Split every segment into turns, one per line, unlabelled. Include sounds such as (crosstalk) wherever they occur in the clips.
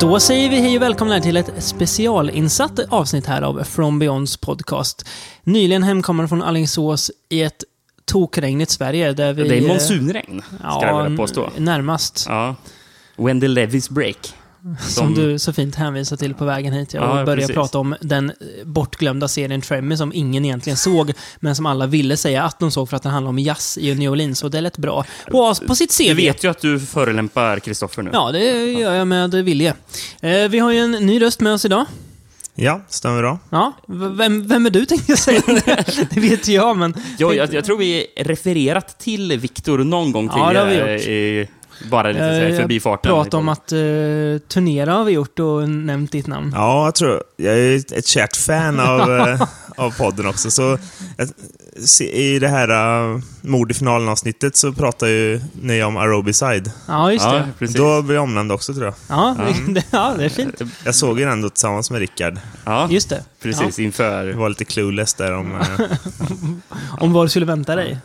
Då säger vi hej och välkomna till ett specialinsatt avsnitt här av From Beyonds podcast. Nyligen hemkommen från Alingsås i ett tokregnigt Sverige där vi... eh,
Det är monsunregn, ska jag vilja påstå.
Närmast.
Ja. Wendy Levis break.
Som du så fint hänvisar till på vägen hit. Jag börjar
Ja, precis.
prata om den bortglömda serien Tremmy som ingen egentligen såg, men som alla ville säga att de såg för att den handlar om jazz i New Orleans och det lät bra. Och på sitt CV.
Du vet ju att du förelämpar Kristoffer nu.
Ja, det gör jag med vilje. Eh, vi har ju en ny röst med oss idag.
Ja, stämmer bra.
Ja, v- vem, vem är du tänkte jag
(laughs)
säga. (laughs) det vet ju jag, men...
Jag, jag, jag tror vi refererat till Viktor någon gång
Ja, det har
tidigare.
vi
i, bara lite så här i
Eh,
förbifarten.
Prata om att eh, turnera har vi gjort och nämnt ditt namn.
Ja, jag tror... Jag är ett kärt fan av, eh, av podden också, så... Jag, se- I det här uh, Mord i finalen-avsnittet så pratar ju ni om Aerobicide.
Ja, just
Ja,
det.
precis.
Då blir jag omnämnd också, tror jag.
Ja, (laughs) det, ja, det är fint.
Jag såg ju den då tillsammans med Rickard.
ja,
Just det.
precis.
Det
Inför...
var lite clueless där om... eh,
Ja, om vad du skulle vänta dig.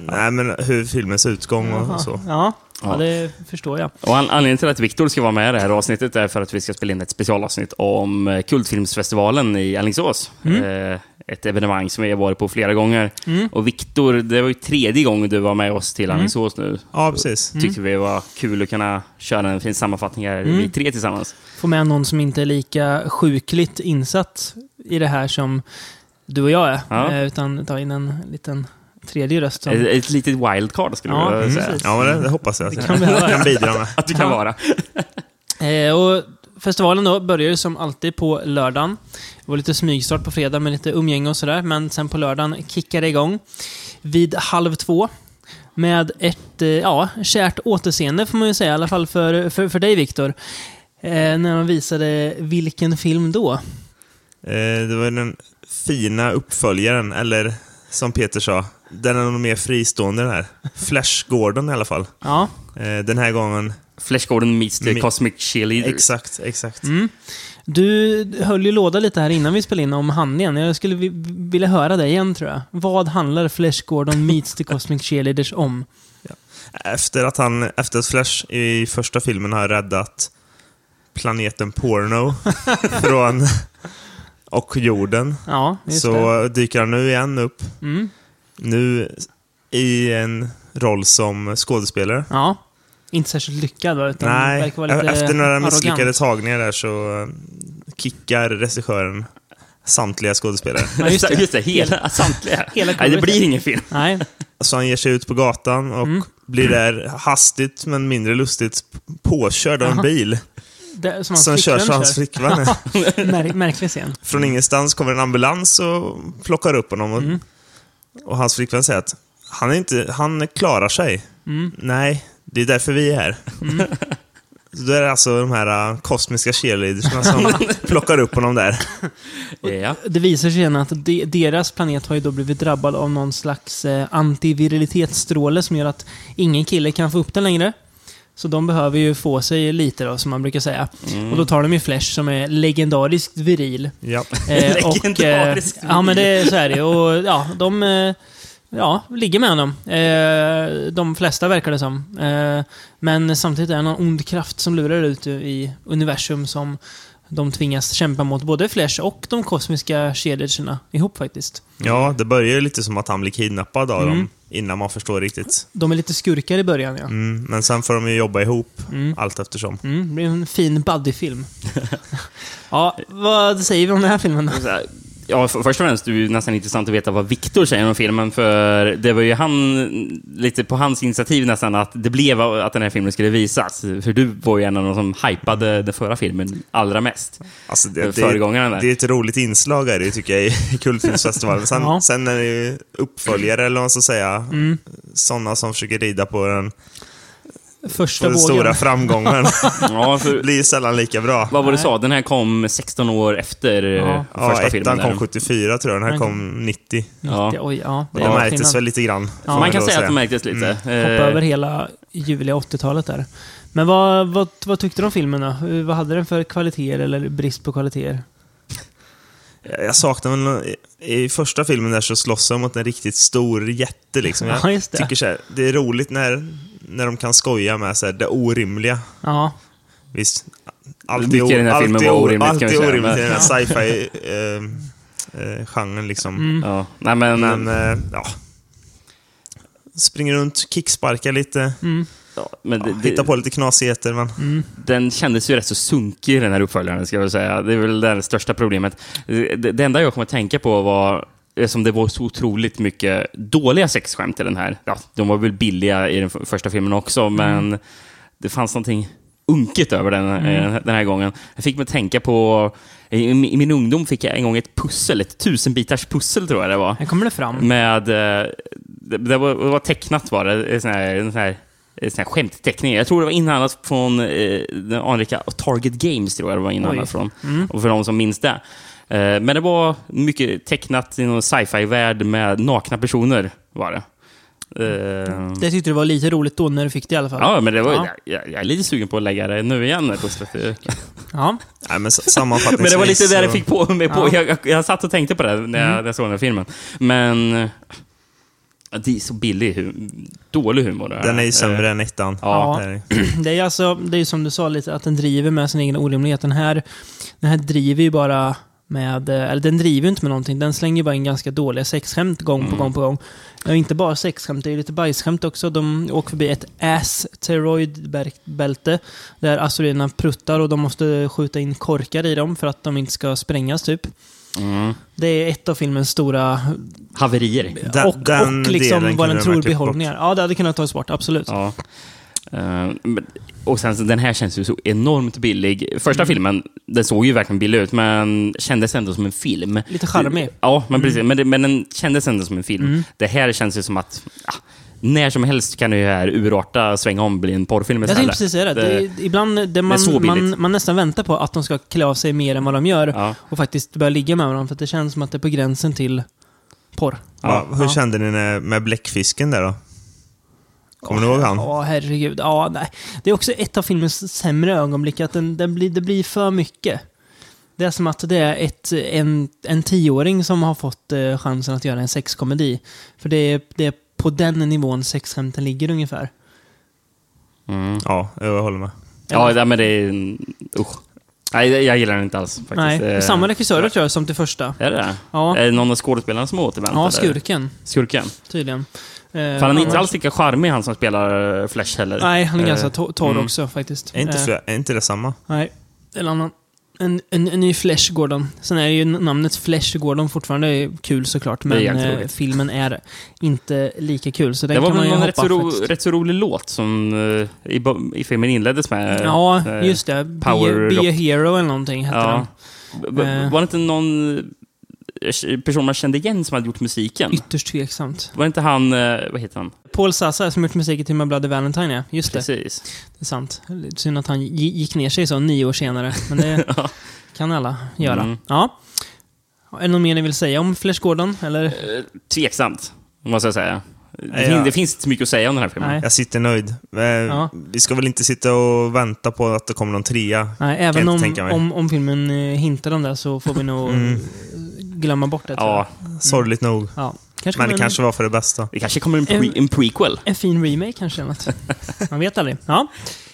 nej, men hur filmens utgång och, och så.
Ja, ja,
Ja.
det förstår jag.
Och an, anledningen till att Viktor ska vara med i det här avsnittet är för att vi ska spela in ett specialavsnitt om eh, Kultfilmsfestivalen i Alingsås.
Mm.
Eh, ett evenemang som vi har varit på flera gånger. Och Viktor, det var ju tredje gången du var med oss
Mm.
till Alingsås nu.
Ja, precis.
Tyckte vi var kul att kunna köra en fin sammanfattning här, vi
Mm.
tre tillsammans.
Få med någon som inte är lika sjukligt insatt i det här som du och jag är.
Ja.
Eh, Utan ta in en liten tredje röst som...
Ett, ett litet wildcard skulle
Ja,
jag vilja säga.
precis.
Mm. Ja, men det, det hoppas jag att
kan vi höra.
jag kan bidra med.
Att du kan
Ja.
vara.
Eh, och festivalen då börjar ju som alltid på lördagen. Det var lite smygstart på fredag med lite umgänge och sådär, men sen på lördagen kickar det igång vid halv två. Med ett, eh, ja, kärt återseende får man ju säga, i alla fall för, för, för dig Viktor. Eh, när de visade vilken film då?
Eh, det var ju den fina uppföljaren, eller som Peter sa, den är nog mer fristående den här. Flash Gordon i alla fall.
Ja,
Eh, den här gången
Flash Gordon meets the
Mi-
Cosmic Cheerleader.
Exakt, exakt.
mm. du höll ju låda lite här innan vi spelade in om handlingen. Jag skulle vi, vilja höra dig igen tror jag. Vad handlar Flash Gordon meets the Cosmic Cheerleaders om?
Efter att han, efter att Flash i första filmen har räddat
(laughs)
planeten Porno från och jorden,
Ja, just
så
det.
dyker han nu igen upp.
Mm.
Nu i en roll som skådespelare.
Ja. Inte särskilt lyckad va? Utan
Nej,
verkar vara lite
efter några
arrogant.
misslyckade tagningar där så eh, kickar regissören samtliga skådespelare.
Ja, just det.
(laughs) Just det, hela, samtliga.
Hela
Nej, det
kurvan.
blir ingen film.
Nej,
Så Alltså, han ger sig ut på gatan och blir där hastigt men mindre lustigt påkörd av en bil
det, som hans
(laughs) som körs av
flickvän
hans flickvän.
(laughs) Mär, märklig scen.
Från ingenstans kommer en ambulans och plockar upp honom. Och, och hans flickvän säger att han, är inte, han klarar sig. Nej, det är därför vi är här. (laughs) Så då är det alltså de här äh, kosmiska cheerleadersna som plockar upp honom där.
Ja.
Det visar sig sen att de, deras planet har ju då blivit drabbad av någon slags eh, antivirilitetsstråle som gör att ingen kille kan få upp den längre. Så de behöver ju få sig lite då, som man brukar säga.
Mm.
Och då tar de ju Flash som är legendariskt viril.
Ja.
(laughs) Eh, och, eh,
Legendariskt
ja, men det, så är det. Och, ja, de eh, ja, ligger med honom. Eh, de flesta verkar det som. Eh, men samtidigt är det någon ond kraft som lurar ut i universum som de tvingas kämpa mot både Flash och de kosmiska kedjorna ihop faktiskt.
ja, det börjar ju lite som att han blir kidnappad av dem innan man förstår riktigt.
De är lite skurkar i början, ja.
Mm, men sen får de ju jobba ihop allt eftersom.
Mm, det blir en fin (laughs) buddyfilm. ja, vad säger vi om den här filmen då?
Så här, Ja, för, först och främst, det är ju nästan intressant att veta vad Viktor säger om filmen, för det var ju han, lite på hans initiativ nästan, att det blev att den här filmen skulle visas. För du var ju en av de som hypade den förra filmen allra mest.
Alltså det,
Den
det,
föregångaren där.
det är ett roligt inslag är det ju, tycker jag i (laughs) Kultfilmsfestivalen. Sen,
Ja. Mm.
sen är det ju uppföljare eller vad man ska säga. Sådana som försöker rida på den, på
Första
den
vågen.
(laughs)
stora framgången.
Ja, för,
(laughs) blir ju sällan lika bra.
vad var det du sa? Den här kom 16 år efter eh,
Ja.
första
Ja,
filmen.
ettan
där.
kom 74 tror jag, den här
Den
kom 90.
Ja.
Oj, ja, det
Det
är
märktes
skillnad.
väl lite grann. får
Man
man
kan
då Mm.
säga att det märktes lite.
Hoppa
Eh,
över hela juliga 80-talet där. Men vad, vad, vad tyckte du om filmen då? Hur- Vad hade den för kvaliteter eller brist på kvaliteter?
Jag saknar väl... nå- i- I första filmen där så slåss de mot en riktigt stor jätte.
(laughs)
Liksom. Jag
Ja, just det.
tycker så här, det är roligt när, när de kan skoja med så här, det orimliga.
Ja,
Visst, Allt är,
Mycket i den
o-
här
allt
filmen
är,
var
o-
orimligt,
allt
kan
är
vi säga,
orimligt i
men-
den här
(laughs)
sci-fi-genren. Eh, genren, liksom.
Mm.
Ja. Nej, men,
Men, eh, ja. Springer runt, kicksparkar lite,
Mm.
ja, men det,
hittar
det,
på lite knasigheter. Men,
den kändes ju rätt så sunkig, den här uppföljaren, ska jag väl säga. Det är väl det största problemet. Det, det enda jag kommer att tänka på var som det var så otroligt mycket dåliga sexskämt i den här. Ja, de var väl billiga i den f- första filmen också, men det fanns någonting unket över den, eh, den här gången. Jag fick mig att tänka på... I, I min ungdom fick jag en gång ett pussel, ett tusenbitars pussel tror jag det var.
Här kommer det fram.
Med, eh, det, det, var, det var tecknat var det, en sån här, en sån här, en sån här skämtteckning. Jag tror det var inhandlat från eh, den anrika Target Games, tror jag det var inhandlat
Oj.
från.
Mm.
Och för de som minns det. Eh, men det var mycket tecknat i någon sci-fi-värld med nakna personer, var det. Eh,
Det tyckte du var lite roligt då när du fick det i alla fall.
Ja, men det var,
Mm. Ja.
Jag, jag är lite sugen på att lägga det nu igen. här på slutet.
(laughs) Ja.
nej,
(laughs)
men s- sammanfattningsvis.
Men det var lite där jag
så-
fick på mig. På.
Ja. Mm.
Jag, jag, jag satt och tänkte på det när jag, när jag såg den här filmen. Men... eh, Det är så billig hum- Dålig humor. det här.
Den är ju
Eh,
sämre än ettan.
Ja.
Det är det.
Det är alltså, det är som du sa lite, att den driver med sin egen orimlighet. Den här, den här driver ju bara med, eh, eller den driver ju inte med någonting. Den slänger ju bara in ganska dåliga sexskämt gång
Mm.
på gång på gång. Och inte bara sexskämt, det är ju lite bajsskämt också. De åker förbi ett asteroidbälte där asteroiderna pruttar och de måste skjuta in korkar i dem för att de inte ska sprängas typ.
Mm.
Det är ett av filmens stora...
Haverier.
Den-
och,
den
och
delen
liksom
kunde
vad den
de ha
tror
klippt bort.
behållningar. Ja, det hade kunnat tas bort, absolut.
Ja. Eh, men- och sen så, den här känns ju så enormt billig.
Mm.
Första filmen, den såg ju verkligen billig ut, men kändes ändå som en film.
Lite charmig. Mm.
Ja, men precis. Men, det, men den kändes ändå som en film. Det här känns ju som att ja, när som helst kan ju här urarta, svänga om, bli en porrfilm
Jag
istället.
tänkte precis säga det. det, är- ibland det man,
så billigt.
man, man nästan väntar på att de ska klä av sig mer än vad de gör
Ja.
och faktiskt börja ligga med varandra. För att det känns som att det är på gränsen till porr.
Va, hur
Ja.
kände ni när, med bläckfisken där då? Kommer ni ihåg han?
Ja, herregud. Ja, nej. Det är också ett av filmens sämre ögonblick, att den, den blir, det blir för mycket. Det är som att det är ett, en, en tioåring som har fått eh, chansen att göra en sexkomedi. För det är, det är på den nivån sexskämten ligger ungefär.
Mm.
Ja, jag håller med.
Ja, nej, men det är... Usch. Nej, jag- jag gillar den inte alls faktiskt.
Nej,
Eh,
samma regissörer tror jag som till första.
Är det det?
Ja,
Är det någon av skådespelarna som har återvänt?
ja Eh,
eller?
skurken.
Skurken?
Tydligen.
För han är inte alls lika charmig, han som spelar eh, Flash heller.
Nej, han är
Eh,
ganska to- torr
mm.
också faktiskt.
Är inte,
Eh,
fl- är inte det samma?
Nej, en annan. En, en, en ny Flash Gordon. Sen är ju namnet Flash Gordon fortfarande kul såklart,
Det är
men
jäkligt
eh,
roligt.
filmen är inte lika kul. Så den
Det var
kan
väl
man ju
någon
hoppa
rätt så, ro,
faktiskt.
rätt så rolig låt som eh, i, bo- i filmen inleddes med.
Ja,
eh,
just det. Be,
Power
Be a
Rock.
Hero eller någonting hette
ja. B- b-
Eh.
Var det inte någon eh, person man kände igen som hade gjort musiken?
den. Ytterst tveksamt.
Var det inte han, eh, vad heter han?
Paul Sassa som gjort musiken till My Bloody Valentine, ja. Just det.
Precis.
Det är sant. Lite Synd att han gi- gick ner sig så nio år senare, men det kan alla göra.
Mm.
Ja. Är det något mer ni vill säga om Flash Gordon? Eller?
Eh, Tveksamt, måste jag säga. Det,
Ja.
fin- det finns inte så mycket att säga om den här filmen.
Nej.
Jag sitter nöjd. Eh, Vi ska väl inte sitta och vänta på att det kommer någon trea?
Nej,
Kan
även
inte
om,
tänka mig. Mm.
om, om filmen eh, hintar om det så får vi
(laughs)
nog eh, glömma bort det. tror jag.
Ja,
Sorgligt nog.
ja. Kanske
Men det
kommer en,
kanske var för det bästa.
det kanske kommer en, pre- en prequel.
en fin remake kanske, eller
(laughs)
något. Man vet aldrig. Ja,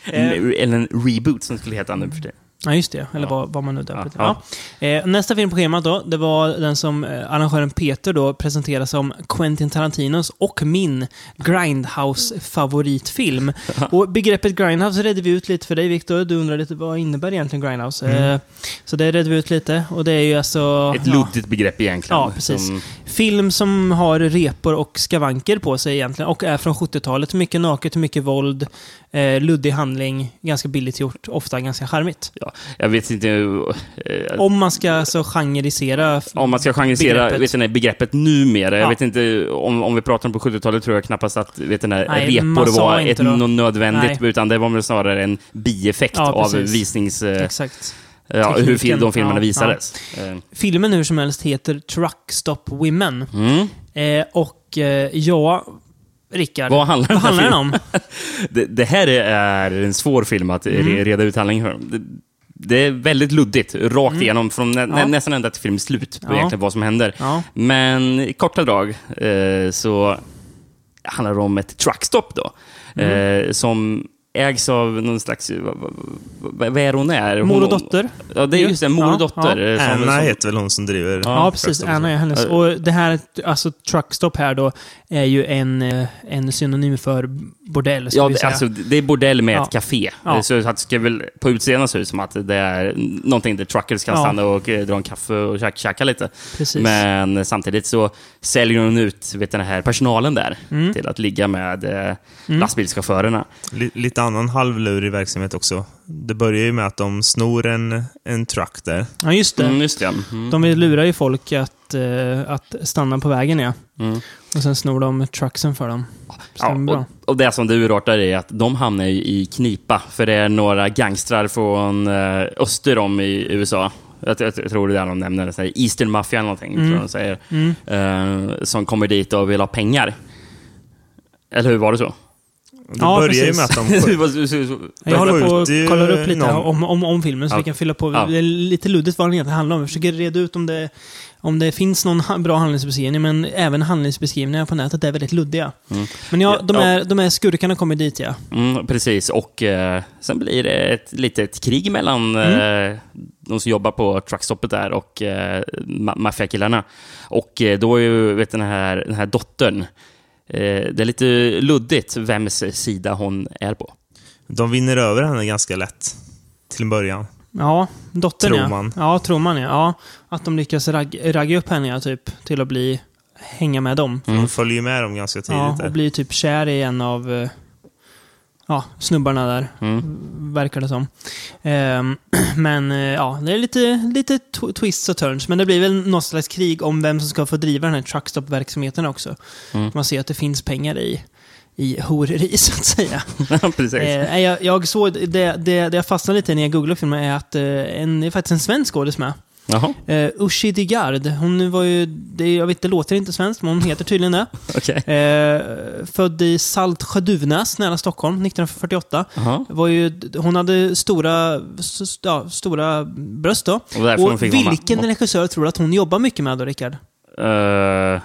eh,
En- Eller en reboot som det skulle heta nu för tiden.
ja just det. Eller
Ja.
vad, vad man nu döper
Ja,
till. Ja. Eh, nästa film på schemat då, det var den som eh, arrangören Peter då presenterade som Quentin Tarantinos och min Grindhouse-favoritfilm. Och begreppet Grindhouse redde vi ut lite för dig, Victor. Du undrade lite vad innebär egentligen Grindhouse? Eh, så det redde vi ut lite. Och det är ju alltså...
Ett
ja.
luddigt begrepp egentligen.
Ja, precis.
Som,
Film som har repor och skavanker på sig egentligen och är från 70-talet. Mycket naket, mycket våld, eh, luddig handling, ganska billigt gjort, ofta ganska charmigt.
ja, jag vet inte... eh,
Om man ska alltså generisera... f-
Om man ska genreisera
Begreppet.
vet ni, begreppet numera.
Ja.
Jag vet inte, om, om vi pratar om på 70-talet tror jag knappast att vet ni,
Nej, man
repor
sa
var
inte
ett
då.
något nödvändigt,
Nej.
utan det var väl snarare en bieffekt
Ja,
av
precis.
visnings... eh,
Exakt.
Ja, hur fil-
Tekniken.
de filmerna
Ja,
visades. Eh,
Filmen hur som helst heter Truck Stop Women.
Mm.
Eh, och eh, ja, Rickard.
Vad handlar
vad
den här
handlar den
filmen?
om?
Det, det här är en svår film att re-
Mm.
reda ut handlingen för. Det, det är väldigt luddigt, rakt igenom, från nä, nä,
Mm. Ja.
nästan ända till filmens slut, på
Ja.
egentligen vad som händer.
Ja.
(laughs) Men i korta drag
Mm.
eh, så handlar det om ett truckstop då. Eh, som ägs av någon slags... Vad, vad, vad vad är hon är? Hon-
Mor och dotter.
Ja, det är just det. Mor
Ja,
och dotter. eh, som-
Anna
som-
heter väl hon som driver...
Ja, precis.
Truckstop.
Anna är hennes.
Ja.
Och det här, alltså truckstop här då, är ju en, eh, en synonym för bordell. ska
Ja,
vi
det,
säga.
alltså, det är bordell med
Ja.
ett café.
Ja.
Så att det ska väl på utseendet se ut som att det är någonting där truckers kan
Ja.
stanna och eh, dra en kaffe och käka, käka lite.
precis.
Men samtidigt så säljer hon ut vet, den här personalen där
Mm.
till att ligga med eh,
Mm.
lastbilschaufförerna.
Li- Lite annan halvlurig verksamhet också. Det börjar ju med att de snor en, en truck där.
Ja, just det.
Mm, just det. Mm.
De vill lura ju folk att, eh, att stanna på vägen, ja.
Mm.
Och sen snor de trucksen för dem.
Ja,
Stämmer bra.
och, och det som du urartar är att de hamnar ju i knipa, för det är några gangstrar från eh, öster om i USA. Jag, jag, jag tror det är där de nämner det, så här Eastern Mafia eller någonting,
Mm.
tror jag de säger.
Mm.
eh, som kommer dit och vill ha pengar. Eller hur, var (laughs) det så?
Det
Ja,
börjar ju
precis.
med
(laughs)
att de...
Du
skj-
var så- så- så-
Jag
De
håller på
skjuter ju
och kollar upp lite
någon.
här om, om, om filmen så
Ja.
vi kan fylla på.
Ja.
Det är lite luddigt vad den egentligen handlar om. Vi försöker reda ut om det, om det finns någon ha- bra handlingsbeskrivning, men även handlingsbeskrivningar på nätet är väldigt luddiga.
Mm.
Men ja,
Ja,
de
ja.
här, de här skurkarna kommer dit, ja.
Mm, precis, och eh, sen blir det ett litet krig mellan
Mm.
eh, de som jobbar på truckstoppet där och eh, ma- maffiakillarna. Och eh, då är ju vet, den, här, den här dottern, eh, det är lite luddigt vems sida hon är på.
De vinner över henne ganska lätt. Till en början.
Ja, dottern
Tror
ja.
man.
Ja, tror man ja. ja. Att de lyckas rag, ragga upp henne ja, typ, till att bli, hänga med dem.
De
Mm.
följer ju med dem ganska tidigt.
Ja,
där.
och blir typ kär i en av eh, ja, snubbarna där,
Mm.
verkar det som. Ehm, (clears throat) men eh, ja, det är lite, lite tw- twists och turns. Men det blir väl något slags krig om vem som ska få driva den här truckstop-verksamheten också.
Mm. (laughs)
Man ser att det finns pengar i, i horeri, (laughs) så att säga.
precis.
Eh, nej, jag, jag såg, det, det, det jag fastnade lite när jag googlade filmen är att eh, en, det är faktiskt en svensk skådis med.
Jaha,
Eh, Uschi de Gard. Hon var ju, det, jag vet det låter inte svenskt, men hon heter tydligen det.
okej.
Eh, född i Saltsjö-Duvnäs nära Stockholm 1948.
Jaha.
Var ju, hon hade stora, s- ja, stora bröst då.
Och därför hon
Och
fick vara
vilken
med.
regissör tror du att hon jobbar mycket med då, Rickard?
Eh,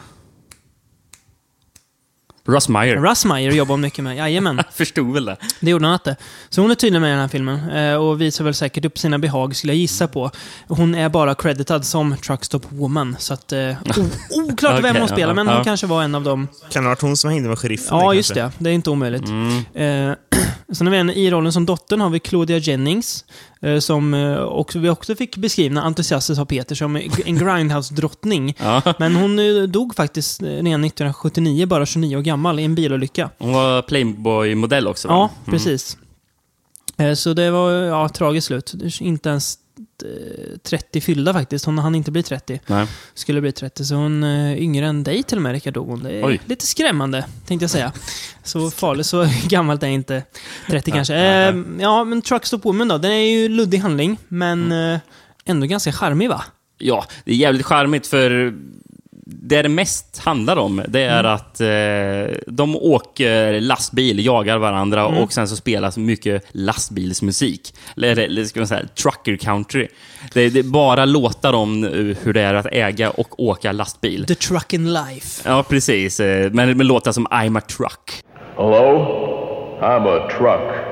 Russ Meyer.
Russ Meyer jobbar hon mycket med,
(laughs)
jajamän.
Jag (laughs) förstod väl det.
Det gjorde hon inte. Så hon är tydligen med i den här filmen eh, och visar väl säkert upp sina behag, skulle jag gissa på. Hon är bara creditad som Truckstop Woman, så att... Eh, o- oklart
(laughs)
vem
Okej,
hon spelar,
ja,
men
ja.
hon kanske var en av dem.
Kan det ha varit hon som hängde med sheriffen?
Ja,
där,
just
kanske?
det. Det är inte omöjligt.
Mm.
Eh, (clears throat) sen har vi en, i rollen som dottern har vi Claudia Jennings, eh, som eh, också, vi också fick beskrivna entusiastiskt av Peter som en grindhouse-drottning.
Ja.
Men hon eh, dog faktiskt eh, redan 1979, bara 29 år gammal, i en bilolycka.
Hon var Playboy-modell också, va?
Ja, precis. Eh, Så det var ja, tragiskt slut. Inte ens eh, 30 fyllda faktiskt. Hon hann inte bli 30.
Nej.
Skulle bli 30. Så hon eh, yngre än dig till och med, Rickard, dog hon. Det är
Oj.
lite skrämmande, tänkte jag säga. Så farligt, så (laughs) gammalt är inte 30 kanske.
nej,
Eh, Ja, men Truckstop Woman då. Den är ju luddig handling, men eh, ändå ganska charmig va?
Ja, det är jävligt charmigt för det det mest handlar om, det är att eh, de åker lastbil, jagar varandra och sen så spelas mycket lastbilsmusik. Eller, eller ska man säga, trucker country. Det, det är bara låtar om eh, hur det är att äga och åka lastbil.
The Truckin' Life.
Ja, precis. Eh, Men med låtar som I'm a truck.
Hello? I'm a truck.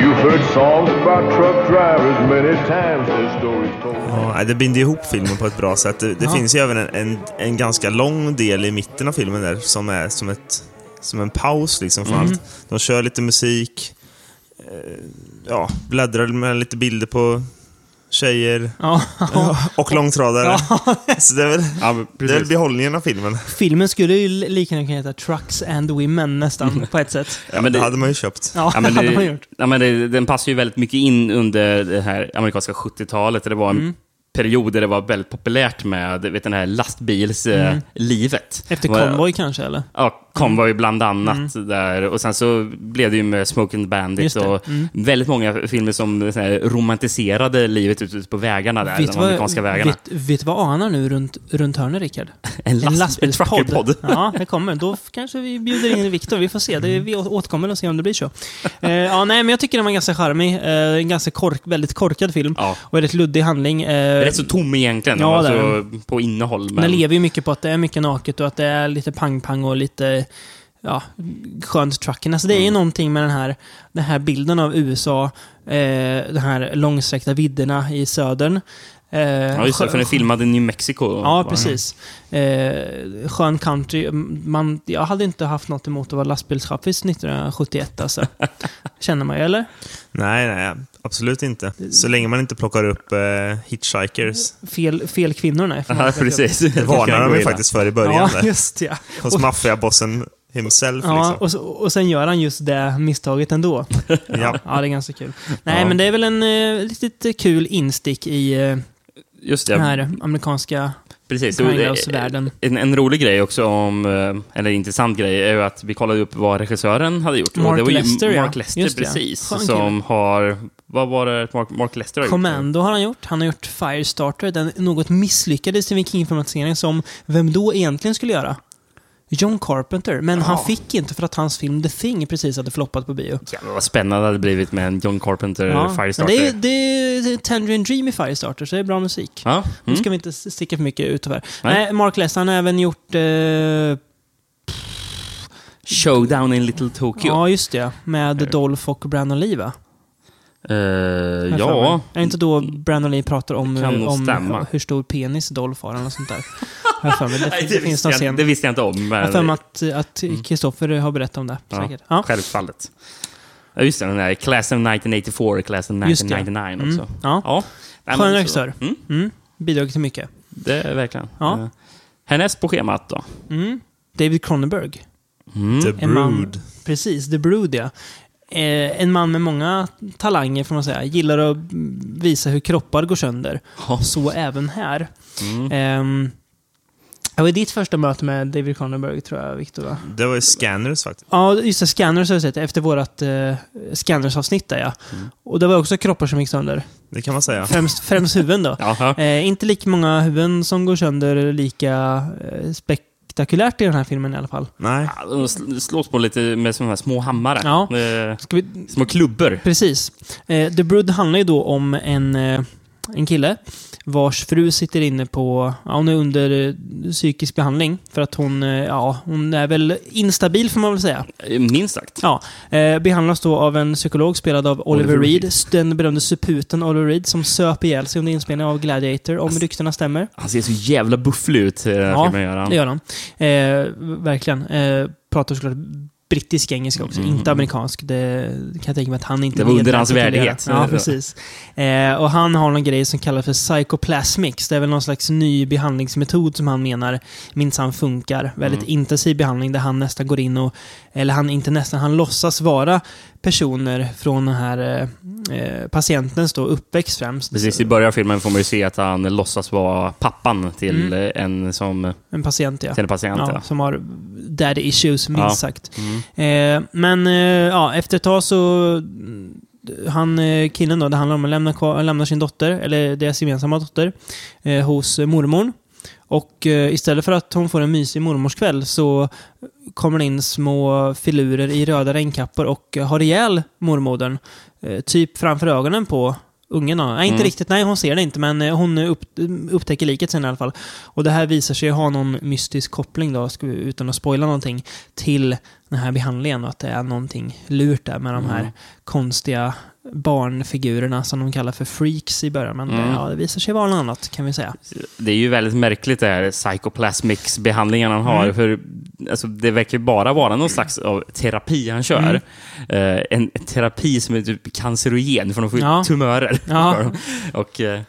You've heard songs about truck drivers many times, their stories told.
Ja, nej, det binder ihop filmen på ett bra sätt. Det, det finns ju även en, en, en ganska lång del i mitten av filmen där som är som, ett, som en paus liksom från allt. De kör lite musik, eh, ja, bläddrar med lite bilder på tjejer
Ja,
och långtradare. Så det är, väl,
Ja,
det är väl behållningen av filmen.
(laughs) filmen skulle ju lika gärna kunna heta Trucks and Women nästan, på ett sätt.
Ja, men
det
det-
hade man ju köpt.
Ja,
(laughs) Ja,
(laughs)
men
det har man
det,
gjort.
ja, men det, den passar ju väldigt mycket in under det här amerikanska 70-talet. där Det var en
Mm.
period där det var väldigt populärt med vet, den här lastbilslivet. Mm.
Efter Convoy kanske, eller?
Ja, kom var ju
Mm.
bland annat där. Och sen så blev det ju med Smoke and
Just
Bandit
det. Mm.
och väldigt många filmer som så här, romantiserade livet ute på vägarna där.
Vet
de amerikanska
vad,
vägarna.
vet, vet vad anar nu runt, runt hörnet, Rickard?
En, last, en truckerpodd.
(laughs) Ja, det kommer. Då kanske vi bjuder in Viktor. Vi får se. Det, vi å- återkommer och ser om det blir så. Eh, ja, nej, men jag tycker den var ganska charmig. Eh, en ganska kork, väldigt korkad film.
Ja.
Och väldigt luddig handling. Eh,
Rätt så tom egentligen,
Ja, det är
alltså, på innehåll.
Den
Men
lever ju mycket på att det är mycket naket och att det är lite pang-pang och lite ja, skönt trucking. Alltså det
Mm.
är ju någonting med den här, den här bilden av USA, eh, de här långsträckta vidderna i södern. Eh,
ja, just det, för den filmade i New Mexico.
Ja, precis. Eh, skön country. Mm, Man, jag hade inte haft något emot att vara lastbilschaffis 1971 alltså.
(laughs)
Känner man ju, eller?
Nej, nej, absolut inte. Så länge man inte plockar upp eh, hitchhikers.
Fel, fel kvinnor, nej.
Ja, precis.
Det varnar de ju faktiskt för i början.
Ja,
där.
just ja.
Hos maffiabossen himself.
ja
Liksom.
och, så, och sen gör han just det misstaget ändå.
Ja.
Ja, det är ganska kul. Nej,
Ja.
men det är väl en eh, litet eh, kul instick i eh,
Just
den
det.
här amerikanska
Precis. Och, eh,
Grindhouse-världen.
En, en rolig grej också, om, eh, eller intressant grej, är ju att vi kollade upp vad regissören hade gjort.
Mark
det var ju
Lester, ja.
Mark Lester,
Just det.
precis.
Skön
Som har... Vad var det Mark, Mark Lester har gjort?
Commando har han gjort. Han har gjort Firestarter, den något misslyckade Stephen King-filmatiseringen som vem då egentligen skulle göra? John Carpenter, men han fick inte för att hans film The Thing precis hade floppat på bio.
Jävlar vad spännande det hade blivit med en John Carpenter
men
Firestarter.
det, är, det, är, det är Tangerine Dream i Firestarter, så det är bra musik.
Ja,
Nu
mm.
ska vi inte sticka för mycket ut här.
Nej.
Nej, Mark Lester, han har även gjort... Eh,
Showdown in Little Tokyo.
ja, just det. Med Dolph och Brandon Lee, va?
Eh,
Har jag för mig.
ja.
Är det inte då Brandon Lee pratar om,
Det kan nog
om
stämma.
hur stor penis Dolph har eller något sånt där? Har jag för mig. Det,
(laughs) Nej,
det, det finns
visste
någon
jag,
scen.
det visste jag inte om.
Jag har
Men,
för mig att, att Kristoffer har berättat om det.
Mm. Ja,
Säkert. Ja.
Självfallet. Ja, just det, den där Class of 1984, Class of
Just det.
1999 också.
Mm. Ja.
Ja. Nej,
Skön
men så-
regissör.
Mm,
Mm. Bidragit till mycket.
det är verkligen.
Ja.
Eh, Härnäst på schemat då? Mm.
Mm. David Cronenberg.
The
En man-
Brood.
Precis, The Brood ja. Eh, en man med många talanger får man säga. Gillar att mm, visa hur kroppar går sönder.
Ja. Mm.
Så även här. Ehm, det var ditt första möte med David Cronenberg tror jag, Victor va?
Det var ju Scanners faktiskt.
Ja, just det. Scanners har jag sett efter vårt eh, Scanners-avsnitt där ja.
Mm.
Och det var också kroppar som gick sönder.
Det kan man säga.
Främst, främst huvuden då.
Jaha.
Eh, inte lika många huvuden som går sönder lika eh, spektakulärt i den här filmen i alla fall.
Nej.
Ja, de sl- slås på lite med såna här små hammare.
Ja.
Eh,
Ska vi,
små klubbor.
precis. Eh, The Brood handlar ju då om en, eh, en kille vars fru sitter inne på... Ja, hon är under eh, psykisk behandling för att hon, eh, ja, hon är väl instabil får man väl säga.
Eh, Minst sagt.
Ja, eh, behandlas då av en psykolog spelad av Oliver,
Oliver
Reed.
Reed.
Den berömde suputen Oliver Reed som söp ihjäl sig under inspelningen av Gladiator, om ryktena stämmer.
Han ser så jävla bufflig ut i den här
Ja,
filmen, gör han.
Det gör han. Eh, verkligen. Eh, pratar såklart brittisk engelska också,
Mm.
inte amerikansk. Det kan jag tänka mig att han inte
Det var under
medvetet
hans
kan göra.
värdighet.
Ja, precis. Eh, och han har någon grej som kallas för psychoplasmics. Det är väl någon slags ny behandlingsmetod som han menar minsann funkar. Väldigt
Mm.
intensiv behandling där han nästan går in och, eller han inte nästan, han låtsas vara personer från den här eh, eh, patientens då uppväxt främst.
Precis, i början av filmen får man ju se att han låtsas vara pappan till eh, en som
En patient, Mm. ja.
till en patient.
Ja,
Ja. Mm.
som har daddy issues, minst
Ja.
sagt. Eh, men eh, ja, efter ett tag så... mm, Han, eh, killen då, det handlar om att lämna, kvar, lämna sin dotter, eller deras gemensamma dotter, eh, hos eh, mormor. Och eh, istället för att hon får en mysig mormorskväll så kommer det in små filurer i röda regnkappor och eh, har ihjäl mormodern. Eh, typ framför ögonen på ungen. då. Nej, inte
Mm.
riktigt. Nej, hon ser det inte, men eh, hon upp, upptäcker liket sen i alla fall. Och det här visar sig ha någon mystisk koppling då, ska vi- utan att spoila någonting, till den här behandlingen och att det är någonting lurt där med de här
Mm.
konstiga barnfigurerna som de kallar för freaks i början. Men
Mm.
det, ja, det visar sig vara något annat kan vi säga.
Det är ju väldigt märkligt det här psychoplasmics-behandlingen han har.
Mm.
För, alltså, det verkar ju bara vara någon slags av terapi han kör. Eh, en terapi som är typ cancerogen, för de får ju
Mm. Ja.
tumörer.
Ja.
(laughs) Och, eh,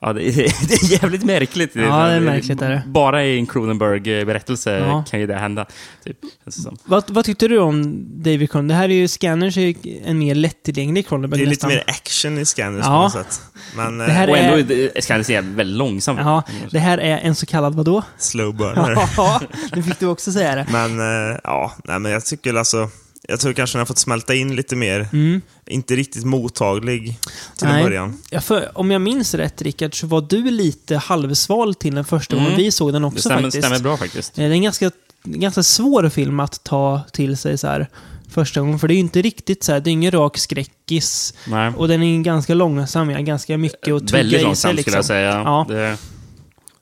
Ja, det, (laughs) är, det är jävligt märkligt.
Ja, det är märkligt, är det.
Bara i en Cronenberg-berättelse
Ja.
kan ju det hända. Typ, känns det som.
Vad, vad tyckte du om David Cronenberg? Det här är ju, Scanners är ju en mer lättillgänglig Cronenberg
Det är lite
nästan.
mer action i Scanners
Ja.
på något sätt. Men
Det här
eh,
Och
är-
ändå är Scandis väldigt långsam.
Ja, det här är en så kallad vadå?
slow burner.
(laughs) Ja, nu fick du också säga det.
men eh, ja, nej, men jag tycker alltså... Jag tror kanske den har fått smälta in lite mer. Inte riktigt mottaglig till en
Nej.
början.
Mm. Ja, för, om jag minns rätt, Rickard, så var du lite halvsval till den första gången vi såg den
Det
också
stämmer,
faktiskt.
stämmer bra faktiskt.
Eh, Det är en ganska, ganska svår film att ta till sig så här första gången, för det är ju inte riktigt så här, det är ingen rak skräckis.
Nej.
Och den är ganska långsam, ja, ganska mycket att tugga
Väldigt
i
långsam
sig, liksom.
skulle jag säga.
Ja.
Det,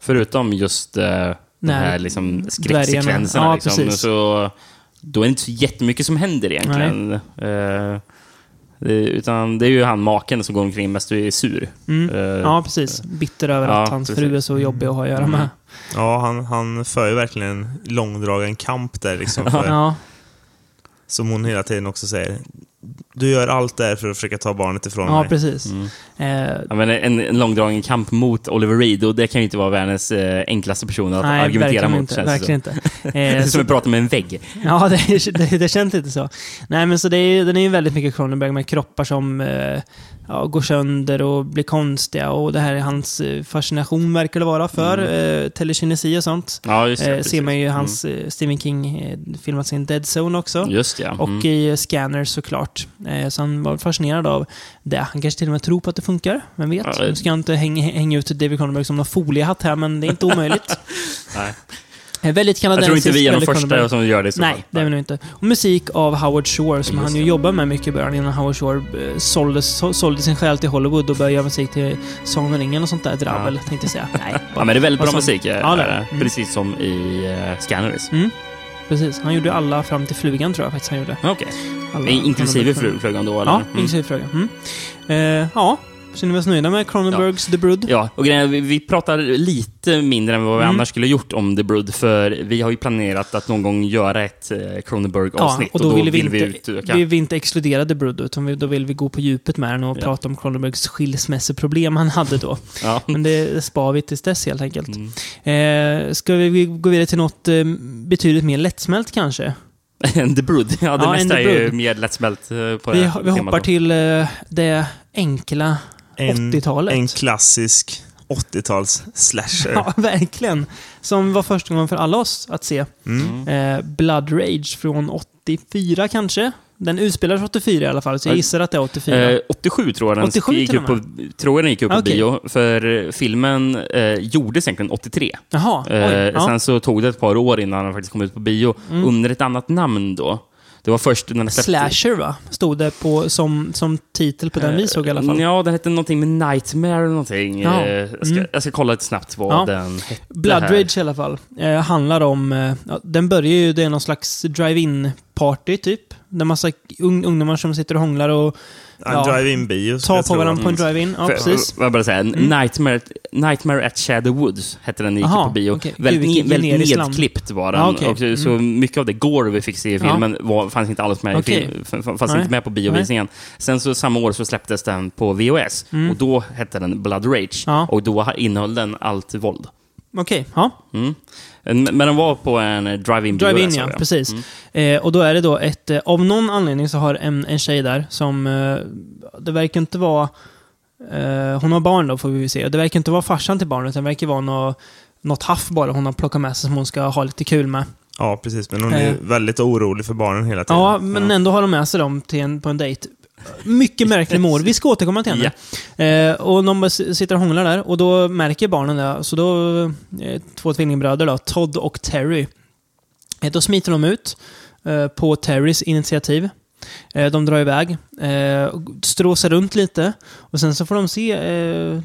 förutom just eh, de
Nej.
här liksom, skräcksekvenserna.
Ja,
liksom,
precis.
så, då är det inte så jättemycket som händer egentligen. Eh, det, utan det är ju han maken som går omkring mest och är sur. Eh,
Mm. Ja, precis. Bitter över
Ja,
att hans
precis. Mm.
fru är så jobbig att ha att göra med.
Ja, han, han för ju verkligen en långdragen kamp där liksom. För,
Ja,
Som hon hela tiden också säger. Du gör allt det här för att försöka ta barnet ifrån
ja
mig.
precis.
Mm.
Eh,
Ja, men en, en långdragen kamp mot Oliver Reed och det kan ju inte vara världens eh, enklaste person att
nej,
argumentera
verkligen
mot.
inte.
känns det som.
Verkligen inte.
Det
Eh,
är (laughs) som att prata med en vägg.
Ja, det, det, det känns lite så. Nej, men så det är, den är ju väldigt mycket Cronenberg med kroppar som eh, ja, går sönder och blir konstiga och det här är hans eh, fascination verkar det vara för eh, telekinesi och sånt.
Mm. Ja, just det.
eh,
precis.
ser man ju i hans eh, Stephen King eh, filmat sin Dead Zone också.
Mm. Just det, ja.
Och
mm.
i eh, Scanners såklart. Eh, så han var fascinerad av det. Han kanske till och med tror på att det funkar. Vem vet?
Ja, det-
Nu ska jag inte hänga, hänga ut David Cronenberg som någon foliehatt här, men det är inte omöjligt.
(laughs) Nej.
Eh, väldigt
Jag
kanadensisk.
tror inte vi är de
väldigt Cronenberg.
första som gör det. i så fall.
Nej, det är vi nog inte. Och musik av Howard Shore, som
Just
han ju
det.
jobbar med mycket i början, innan Howard Shore eh, sålde, så- sålde sin själ till Hollywood och började göra musik till Sagan om ringen och sånt där dravel, tänkte jag
(laughs)
säga. Nej,
Ja, men det är väldigt
Vad
bra
som-
musik. eh,
Ja, det är det.
eh,
Mm.
Precis som i eh, Scanners.
precis. Han gjorde alla fram till Flugan, tror jag faktiskt han gjorde.
Okej.
Alla,
In- Eh, Inklusive
alla-
fru- flugan då, eller?
Ja,
Mm.
inklusive Flugan. Mm. Eh, ja, känner vi oss nöjda med Cronenbergs The Brood?
Ja, och grejen är, vi- vi pratar lite mindre än vad
Mm.
vi annars skulle gjort om The Brood, för vi har ju planerat att någon gång göra ett eh, Cronenberg-avsnitt.
och då, ville vi, inte,
utöka.
vill vi inte exkludera The Brood, utan vi, då vill vi gå på djupet med den och
Ja.
prata om Cronenbergs skilsmässoproblem han hade då.
Ja. Mm.
Men det spar vi tills dess helt enkelt. Eh, ska vi gå vidare till något eh, betydligt mer lättsmält kanske?
(laughs) En The Brood. Ja, det
Ja, en
mesta
The
är ju
Brood.
mer lättsmält eh, på det
Vi,
här
vi
temat
hoppar
då.
till eh, det enkla 80-talet.
En klassisk 80-tals
(laughs)
slasher.
Ja, verkligen. Som var första gången för alla oss att se.
Mm.
Mm.
Eh, Blood Rage från 84 kanske? Den utspelas 84 i alla fall, så jag
Ja.
gissar att det är 84.
Eh, 87 tror jag den
87
gick
till
upp
och
på, tror jag den gick upp på
Okej.
bio, för eh, filmen eh, gjordes egentligen 83.
Jaha, oj.
Eh,
ja. Mm.
Sen så tog det ett par år innan den faktiskt kom ut på bio, under ett annat namn då. Det var först när den släpptes-
Slasher va? Stod det på, som, som titel på den vi såg i alla fall.
Eh, Ja, den hette någonting med Nightmare eller någonting.
Ja.
Eh, Jag, ska,
Mm.
jag ska kolla lite snabbt vad
Ja.
den hette.
Blood
här.
Rage i alla fall. Eh, handlar om... Eh, ja, den börjar ju... Det är någon slags drive-in party typ. Där massa un ungdomar som sitter och hånglar och
En
Ja.
drive-in-bio. skulle
tar
jag
på
tro.
varandra på en drive-in. Ja,
För-
precis. Mm.
Vad jag bara säga, Nightmare, Nightmare at Shadow Woods hette den när den gick
Aha,
ut på bio.
okej. Gud,
Väldigt,
vilken
ne- väldigt
generisk namn.
nedklippt var den.
Ja, okej. Mm.
och, så- Så mycket av det gore vi fick se i
Ja.
filmen var, fanns inte alls med,
Okej.
i film, f- f- fanns
Nej.
inte med på biovisningen. Sen så samma år så släpptes den på VHS och då hette den Blood Rage.
Mm. Ja.
Och då ha- innehöll den allt våld.
Okej, ja.
Mm. Men men den var på en eh, drive-in bio.
Drive-in
där,
ja,
sa jag.
precis. Eh, och då är det då ett... Eh, av någon anledning så har en, en tjej där som... Eh, det verkar inte vara... Eh, hon har barn då, får vi se. Och det verkar inte vara farsan till barnet, utan det verkar vara nå något haff bara hon har plockat med sig som hon ska ha lite kul med.
Ja, precis. Men hon är
Eh.
väldigt orolig för barnen hela tiden.
Ja, men ändå har de med sig dem till en, på en dejt. Mycket märklig mor. Vi ska återkomma till henne. Eh, och de bara s- sitter och hånglar där och då märker barnen det. Så då, eh, två tvillingbröder då, Todd och Terry. Eh, då smiter de ut eh, på Terrys initiativ. Eh, de drar iväg, eh, och stråsar runt lite och sen så får de se eh,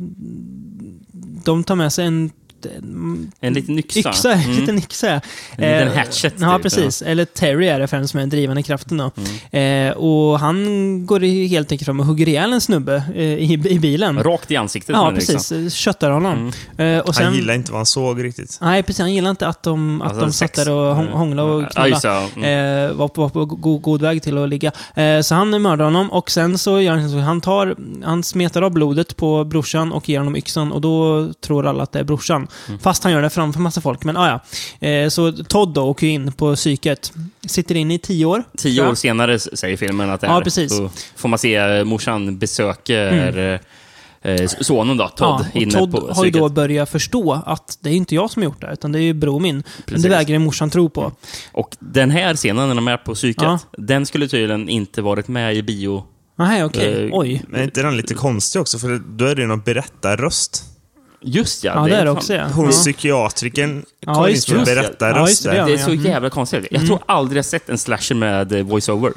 de tar med sig en, mm,
En liten yxa. Mm.
yxa. En liten yxa. ja.
En liten
Eh,
hatchet,
Ja,
typ,
precis. Eller Terry är det för den som är den drivande kraften då. Eh, och han går i- helt enkelt fram och hugger ihjäl en snubbe eh, i, i bilen.
Mm. Rakt i ansiktet.
Ja,
med den yxan. Mm.
precis. Eh, Köttar honom. Eh, och sen,
Han gillar inte vad han såg riktigt.
Nej, precis. Han gillar inte att de, att
Alltså,
de satt
sex.
där och hång- hånglade och
Ja,
knullade.
just det, ja. Mm.
Eh, var på, var på god, god väg till att ligga. Eh, så han mördar honom och sen så gör han så han tar, han smetar av blodet på brorsan och ger honom yxan och då tror alla att det är brorsan.
Mm.
Fast han gör det framför massa folk, men ah, ja. eh, Så Todd då åker ju in på psyket. Sitter in i tio år.
Tio år senare s- säger filmen att det är.
Ja, precis. Mm.
Så får man se eh, morsan besöker eh, s- sonen då, Todd,
ja, och
inne
Todd
på
har ju
psyket.
då börjat förstå att det är inte jag som har gjort det, utan det är ju bror min. Men
Precis. Mm.
det vägrar ju morsan tro på.
Och den här scenen när de är på psyket,
Ja.
den skulle tydligen inte varit med i bio.
Nej, okej.
Eh,
Oj.
Men är inte den lite konstig också? För då är det ju någon berättarröst.
Just ja,
Ja, det är det
fan-
också ja.
Hon
ja.
psykiatrikern
Ja,
kom in
just
som
det.
Ja,
berättarröst
just det,
där.
ja. Mm.
Det är så jävla konstigt. Jag tror aldrig jag sett en slasher med eh, voiceover.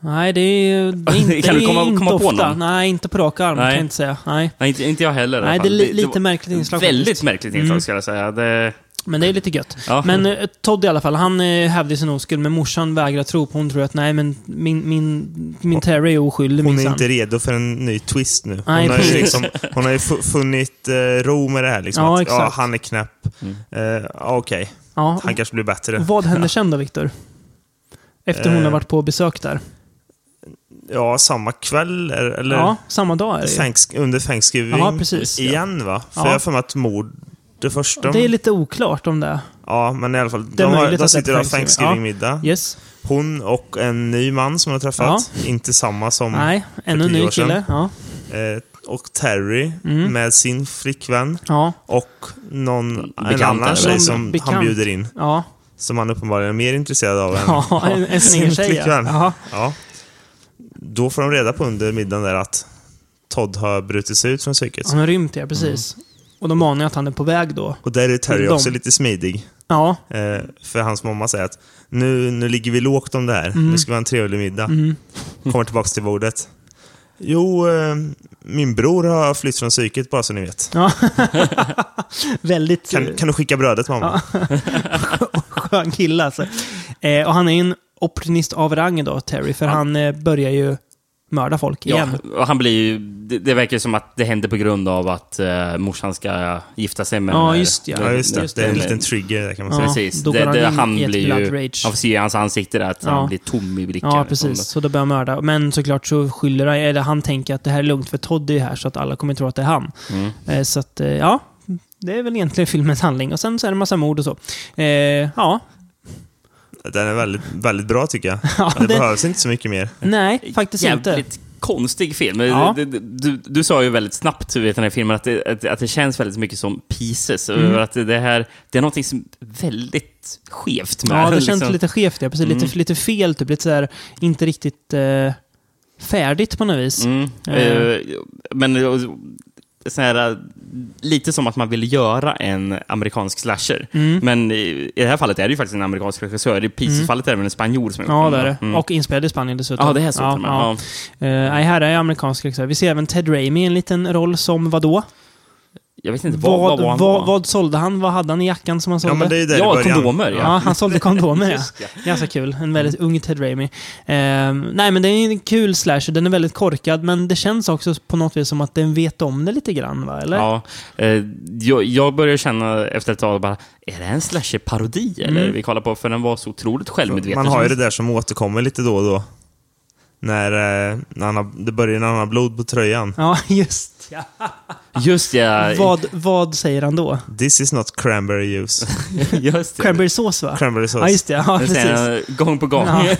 Nej, det är, det är
Kan
inte,
du
det är
komma-
inte
komma på
ofta.
någon?
Nej, inte på rak arm kan
Nej.
jag inte säga. Nej.
Nej, inte, inte jag heller. i alla
Nej, det
fall.
är li-
var
lite märkligt inslag.
Väldigt
faktiskt.
märkligt inslag, ska jag säga. Det,
Men det är lite gött.
Ja.
Men eh, Todd i alla fall, han eh, hävdar sin oskuld, men morsan vägrar tro på Hon tror att nej, men min, min, min Terry är oskyldig
Hon är
minsann.
inte redo för en ny twist nu. Hon,
Nej,
har, ju
precis.
liksom, hon har ju fu- funnit eh, ro med det här. Liksom,
Ja,
att, ja,
exakt.
han är knäpp. Eh, ja, Okej,
Ja.
han kanske blir bättre.
Vad händer sen då, Viktor? Efter hon har
Eh.
varit på besök där?
Ja, samma kväll eller- eller
Ja, samma dag är det ju.
thanks, under Thanksgiving
Ja, precis.
igen va? För
Ja.
jag har för mig att mord, det första...
Det är lite oklart om det.
Ja, men i alla fall.
är
De, har,
möjligt
de
att det är
sitter och har
Thanksgiving.
Thanksgiving-middag.
Yes.
Hon och en ny man som hon har träffat. Inte samma som...
Nej, ännu en
Mm. tio
ny
år sedan.
kille. Ja.
Eh, och Terry
Mm.
med sin flickvän.
Ja.
Och någon, en
eller
annan tjej
vad?
som
Bekant.
han bjuder in.
Ja.
Som han uppenbarligen är mer intresserad av än
(laughs) Ja, en, en
sin
snigeltjej. ja.
flickvän.
Ja.
Ja. Då får de reda på under middagen där att Todd har brutit sig ut från psyket.
Han har rymt, ja. Precis.
Mm.
Och de anar ju att han är på väg då.
Och där är Terry
De-
också lite smidig.
Ja,
Eh, för hans mamma säger att nu, nu ligger vi lågt om det här.
Mm.
Nu ska vi ha en trevlig middag. Kommer tillbaka till bordet. Jo, eh, min bror har flytt från psyket bara så ni vet.
väldigt
Kan, kan du skicka brödet mamma?
skön kille alltså. Eh, och han är en opportunist av rang då, Terry, för han eh, börjar ju mörda folk
ja,
igen.
och han blir ju, det, det verkar ju som att det händer på grund av att eh, morsan ska gifta sig med...
Ja, just ja.
Ja, just det.
Just
det är en
det.
liten trigger där kan man
Ja.
säga.
Precis.
då
det,
går han
det,
in
han
i ett
blir
blood
ju...
rage.
Man får se i hans ansikte där att
Ja.
han blir tom i blicken.
Ja,
liksom.
precis. Så då börjar han mörda. Men såklart så skyller han, eller han tänker att det här är lugnt för Todd är ju här så att alla kommer tro att det är han.
Mm.
Eh, så att, eh, ja. Det är väl egentligen (laughs) filmens handling. Och sen så är det en massa mord och så. Eh, ja. (laughs)
Den är väldigt, väldigt bra tycker jag.
Ja,
det,
det-
behövs inte så mycket mer.
Nej, faktiskt inte.
Jävligt konstig film.
Ja.
Du, du, du, du sa ju väldigt snabbt du vet, den här filmen att det, att, att det känns väldigt mycket som pieces.
Mm.
Och Att det, här, det är någonting som är väldigt skevt med
Ja,
den,
det känns
liksom.
lite skevt. Ja. Precis, lite, lite fel, typ. Lite så här, inte riktigt eh, färdigt på något vis.
Mm.
Eh.
Eh, Men eh, så här, eh, lite som att man vill göra en amerikansk slasher.
Mm.
Men i i det här fallet är det ju faktiskt en amerikansk regissör. I Pieces-fallet är det väl en spanjor som
Ja,
gjort
det
den,
är
va?
det. Och inspelad i Spanien dessutom.
Mm. Ja, det här såg ja, ja.
ja. Eh, nej, här är amerikansk regissör. Vi ser även Ted Raimi i en liten roll som vadå?
Jag vet inte, vad,
Vad,
vad,
vad,
var han
vad,
då?
sålde han? Vad hade han i jackan som han
Ja,
sålde?
men det är ju där i
Ja,
början.
kondomer.
ja.
Ja.
han sålde kondomer
(laughs)
ja.
ja.
Ganska kul. En väldigt ung Ted Raimi. Eh, nej, men det är en kul slasher. Den är väldigt korkad, men det känns också på något vis som att den vet om det lite grann, va? Eller?
Ja, eh, jag, jag börjar känna efter ett tag bara, är det en slasher-parodi
Mm.
eller? Vi kollar på, för den var så otroligt självmedveten.
Man har ju det där som återkommer lite då och då. När, eh, när han har, det börjar när han har blod på tröjan.
Ja, (laughs) just.
Just ja,
Vad, vad säger han då?
This is not cranberry
(laughs)
juice.
(laughs) just det.
Cranberrysås, va?
Cranberry sauce.
Ja, just det. Ja,
Den
precis.
(laughs) säger jag eh, gång på gång.
Ja.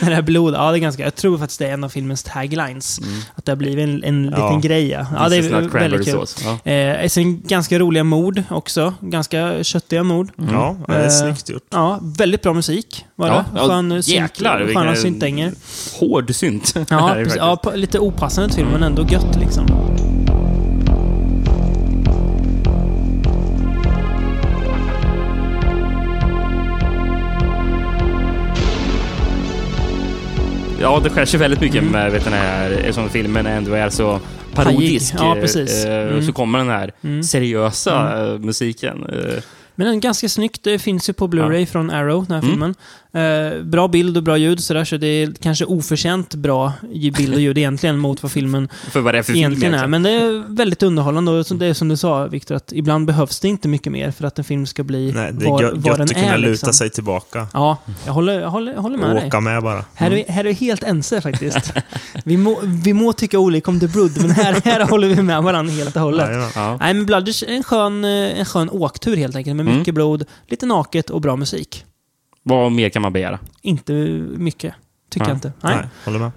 Det här blodet, ja det är ganska, jag tror faktiskt det är en av filmens taglines.
Mm.
Att det har blivit en, en liten
Ja.
grej. Ja, ja det
This is
är
not
väldigt kul.
cranberry-sås. Ja.
Eh, sen ganska roliga mord också. Ganska köttiga mord.
Ja, det är
Eh,
snyggt gjort.
Ja, väldigt bra musik var det.
Mm. Ja, ja,
Skön synt-
jäklar, vilken-
Sköna
(laughs)
syntänger.
Hård synt. (laughs)
Ja,
Här
precis,
är faktiskt.
ja, på- lite opassande till filmen, men ändå gött liksom.
Ja, det skär sig väldigt mycket med vet, den här, eftersom filmen ändå är så parodisk.
Pajig. Ja,
eh,
precis.
eh,
Mm.
Så kommer den här seriösa eh, musiken. eh,
Men den är ganska snyggt. Det finns ju på Blu-ray från Arrow, den här
Mm.
filmen. Eh, bra bild och bra ljud sådär, så det är kanske oförtjänt bra ju- bild och ljud egentligen mot vad filmen
För vad det är för
egentligen
liksom.
film liksom.
är. Men det är väldigt underhållande och så- det är som du sa Viktor, att ibland behövs det inte mycket mer för att en film ska bli
Nej, det är
vad,
gö-
vad
gött
den
att kunna
är.
luta
liksom.
sig tillbaka
Ja, jag håller, jag håller, jag håller
och
med dig.
åka Mm. med bara.
Här är, här är vi helt ense
(laughs)
faktiskt. vi, må, vi må tycka olika om The Brood, men här, här håller vi med varandra helt och hållet.
Jajamän.
Ja.
Nej, men Blooders är en skön, eh, en skön åktur helt enkelt,
Mm.
med mycket blod, lite naket och bra musik.
Vad mer kan man begära?
Inte mycket, tycker
Nej.
jag inte. Nej.
Nej, håller med.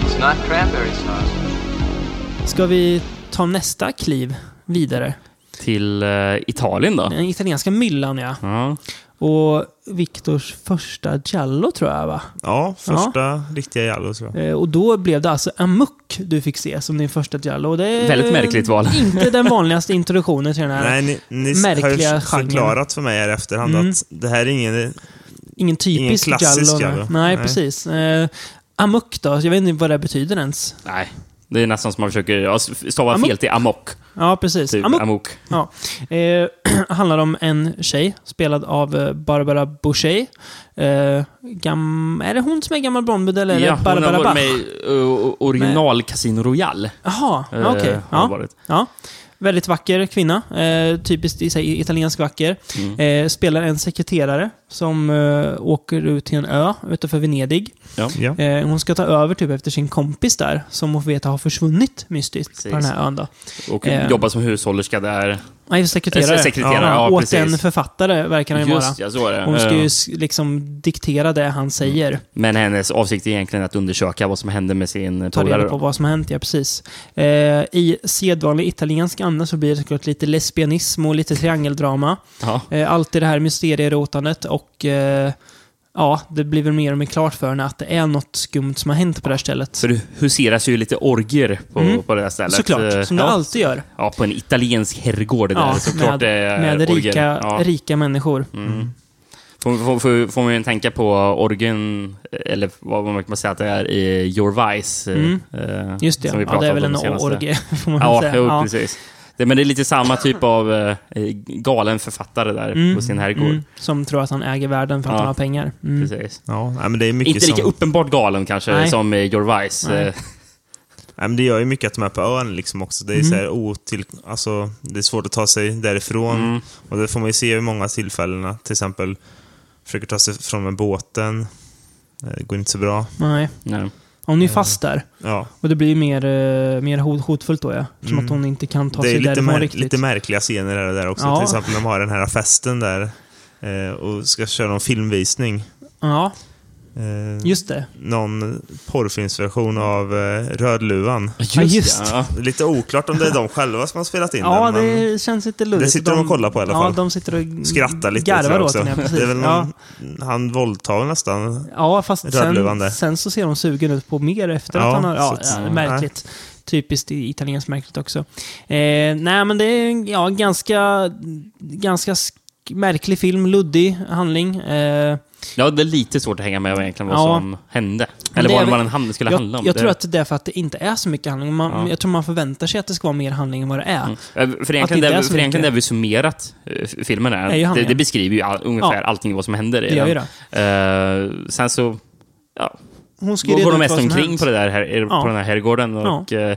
It's not cranberry sauce.
Ska vi ta nästa kliv vidare?
Till eh, Italien då?
Den italienska myllan, ja.
Ja.
Och Viktors första Giallo, tror jag, va?
Ja, första riktiga Jallo tror jag.
Eh, Och då blev det alltså Amok du fick se som din första Giallo. Och det är
Väldigt märkligt val.
(laughs) Inte den vanligaste introduktionen till den här.
Nej, ni, ni har ju
märkliga
f-
genren.
förklarat för mig här i efterhand
Mm.
att det här är ingen...
Ingen typisk
Ingen klassisk
Giallo.
Giallo.
Nej,
Nej.
nej. precis. Eh, Amok då? Jag vet inte vad det betyder ens.
Nej. Det är nästan som man försöker ja, stava
Amok.
fel till amok.
Ja, precis.
Typ.
Amok.
Amok.
Ja. Eh, (clears throat) handlar om en tjej, spelad av eh, Barbara Boucher. Eh, gam- är det hon som är gammal Bondbud eller är
Ja,
det
hon har
Barbara
varit
Bach?
med i uh, original Casino Royale.
Jaha,
eh,
ja, okej.
har
Ja.
varit.
Ja. Väldigt vacker kvinna. Eh, typiskt i sig italiensk vacker.
Mm.
Eh, spelar en sekreterare som eh, åker ut till en ö utanför Venedig.
Ja.
Ja.
Eh, hon ska ta över typ efter sin kompis där, som hon får veta har försvunnit mystiskt
Precis.
på den här ön. Då.
Och
Eh.
jobbar som hushållerska där.
Nej, sekreterare.
Eh, sekreterare, ja,
åt
precis.
en författare verkar han ju vara.
Just ja, Mm. så är det.
Hon ska
Eh,
ju s- liksom diktera det han säger.
Men hennes avsikt är egentligen att undersöka vad som hände med sin
Ta
polare.
reda på
då.
vad som har hänt, ja precis. Eh, I sedvanlig italiensk anda så blir det såklart lite lesbianism och lite triangeldrama.
Ja.
Eh, alltid det här mysterierotandet och eh, ja, det blir väl mer och mer klart för henne att det är något skumt som har hänt på det här stället.
För det huseras ju lite orger på,
Mm.
på det här stället. Eh,
Såklart, som det
ja.
alltid gör.
Ja, på en italiensk herrgård där.
Ja,
såklart
med
det är
med
orger.
rika,
Ja.
rika människor.
Mm. Får, får, får, får man ju tänka på orgen, eller vad man kan säga att det är, i Your Vice. eh,
Mm.
eh,
Just det,
som vi
ja, det
pratade
är väl
om
en
senaste-
orgie, (laughs) får man
Ja,
säga.
jo,
Ja.
precis. Det, men det är lite samma typ av eh, galen författare där på sin herrgård.
mm, som tror att han äger världen för att
Ja.
han har pengar. Mm.
Precis.
Ja, nej, men det är mycket
Inte lika
som...
uppenbart galen kanske
Nej.
som i Your Vice.
Nej.
eh,
Nej, men det gör ju mycket att de är på ön liksom också. Det är, så
Mm.
här, otill... alltså, det är svårt att ta sig därifrån.
mm.
Och det får man ju se i många tillfällen. Till exempel, försöker ta sig från med båten. Eh, Det går inte så bra.
Nej.
nej.
Hon är
Eh.
ju fast där.
Ja,
Och det blir ju mer, eh, mer hot, hotfullt då ja. Som
Mm.
att hon inte kan ta
det är
sig
lite,
därifrån
mär...
riktigt.
lite märkliga scener där, där också.
Ja.
Till exempel när de har den här festen där eh, och ska köra någon filmvisning.
ja,
Eh,
just det.
Någon porrfilmsversion av eh, Rödluvan.
Ja, just
det, ja.
Det är lite oklart om det är de själva som har spelat in
Ja,
den. men-
det känns lite luddigt.
Det sitter de och kollar på i alla
Ja,
fall.
de sitter och
skrattar lite. tror
garvar
jag
åt
också.
den, ja,
(laughs)
precis.
Det är väl
ja.
någon, Han våldtar väl nästan.
ja, fast
Rödluvan där.
sen, sen så ser hon sugen ut på mer efter
Ja,
att han har... Ja,
så att-
ja, märkligt. Typiskt i- italienskt märkligt också. Eh, nej, men det är en ja, ganska, ganska sk- märklig film. Luddig handling. Eh,
ja, det är lite svårt att hänga med egentligen vad
Ja.
som hände. Eller
det
vad,
är väl-
vad den hand, skulle
jag
handla om.
jag
Det-
tror att det är för att det inte är så mycket handling. Man,
Ja.
Jag tror man förväntar sig att det ska vara mer handling än vad det är.
Eh, För egentligen,
inte
det,
är så
för egentligen
mycket.
det vi summerat eh, filmen är,
ju
det,
handlingen.
det beskriver ju all, ungefär
Ja.
allting vad som händer i
Det gör ju
den. Eh, sen så ja,
Hon ska ju
går,
reda
går de
ut
mest
vad som
omkring
hänt.
på, det där här, er-
Ja.
på den här herrgården. Och, eh,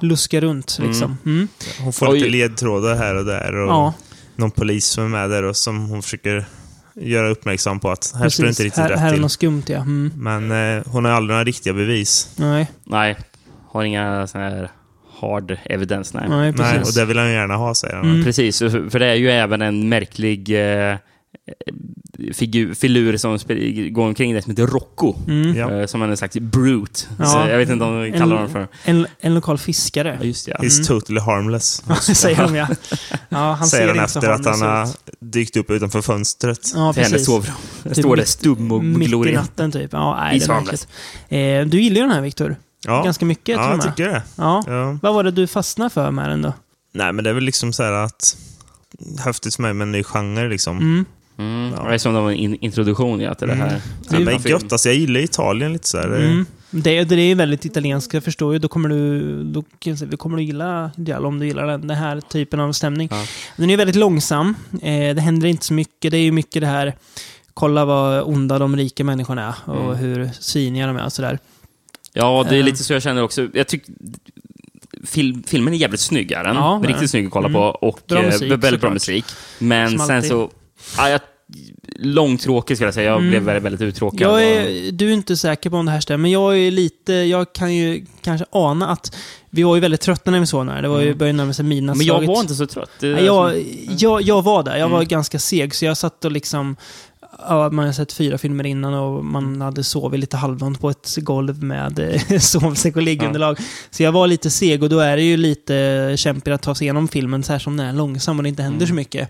Luska runt liksom. Mm.
Hon får
Oj.
lite ledtrådar här och där. Och
Ja.
Någon polis som är med där och som hon försöker göra uppmärksam på att här
Precis.
står det inte riktigt
här,
rätt
här är
till.
något skumt ja. Mm.
Men eh, hon har aldrig några riktiga bevis.
Nej,
nej, har inga sån här hard evidence. Nej.
nej, precis. Mm.
Nej, och det vill han ju gärna ha, säger han.
Precis, för för det är ju även en märklig eh, figur, filur som sp- går omkring där som heter Rocco.
Mm.
Ja.
Eh, som är en slags brute.
Ja.
Så jag vet inte om de kallar honom för...
En, en lokal fiskare,
Ja, just det. Ja.
He's totally harmless.
säger de ja. (laughs) ja han
säger
ser
han
inte så
efter att han
harmlös
har
ut.
dykt upp utanför fönstret.
Ja,
Till hennes
precis.
sovrum. Står där
mitt-
stum och
Mitt i
glor
natten typ. Ja, nej, det är
Isvarmlös.
märkligt. eh, Du gillar ju den här Viktor.
Ja.
Ganska mycket
Ja,
tror
jag
jag. med.
tycker det.
Ja.
Ja.
Vad var det du fastnade för med den då?
Nej, men det är väl liksom så här att... Häftigt för mig med en ny genre liksom.
Mm. Det är som en in- introduktion ja, till det här.
Ja,
typen
men
av film.
gött, alltså, jag gillar Italien lite så här.
Mm. Det, det är ju väldigt italienskt, jag förstår ju. Då kommer du, då kan jag säga, då kommer du gilla Giallo om du gillar den, den här typen av stämning.
Ja.
Den är ju väldigt långsam. Eh, det händer inte så mycket. Det är ju mycket det här, kolla vad onda de rika människorna är och
Mm.
hur sviniga de är och sådär.
Ja, det är
Eh.
lite så jag känner också. Jag tyck, fil, filmen är jävligt snygg, är den.
Ja, det är den. Mm.
Riktigt snygg att kolla på och
Bra
bra
musik,
musik, väldigt bra
såklart.
musik. Men
Som
sen
alltid. Mm.
så... Ja, jag, långtråkig skulle jag säga. Jag blev väldigt, väldigt uttråkad.
Jag
Och-
är, du är inte säker på om det här stämmer. Jag är lite, jag kan ju kanske ana att vi var ju väldigt trötta när vi såg den här. Det var ju började närma sig midnatt.
Mm. Men jag var inte så trött. Det är
Nej,
som-
Jag, jag, jag var där. Jag var
Mm.
ganska seg, så jag satt och liksom... Ja, man hade sett fyra filmer innan och
Mm.
man hade sovit lite halvdant på ett golv med eh, (laughs) sovsäck och liggunderlag. Så jag var lite seg och då är det ju lite kämpigt att ta sig igenom filmen, så här som den är långsam och det inte
Mm.
händer så mycket.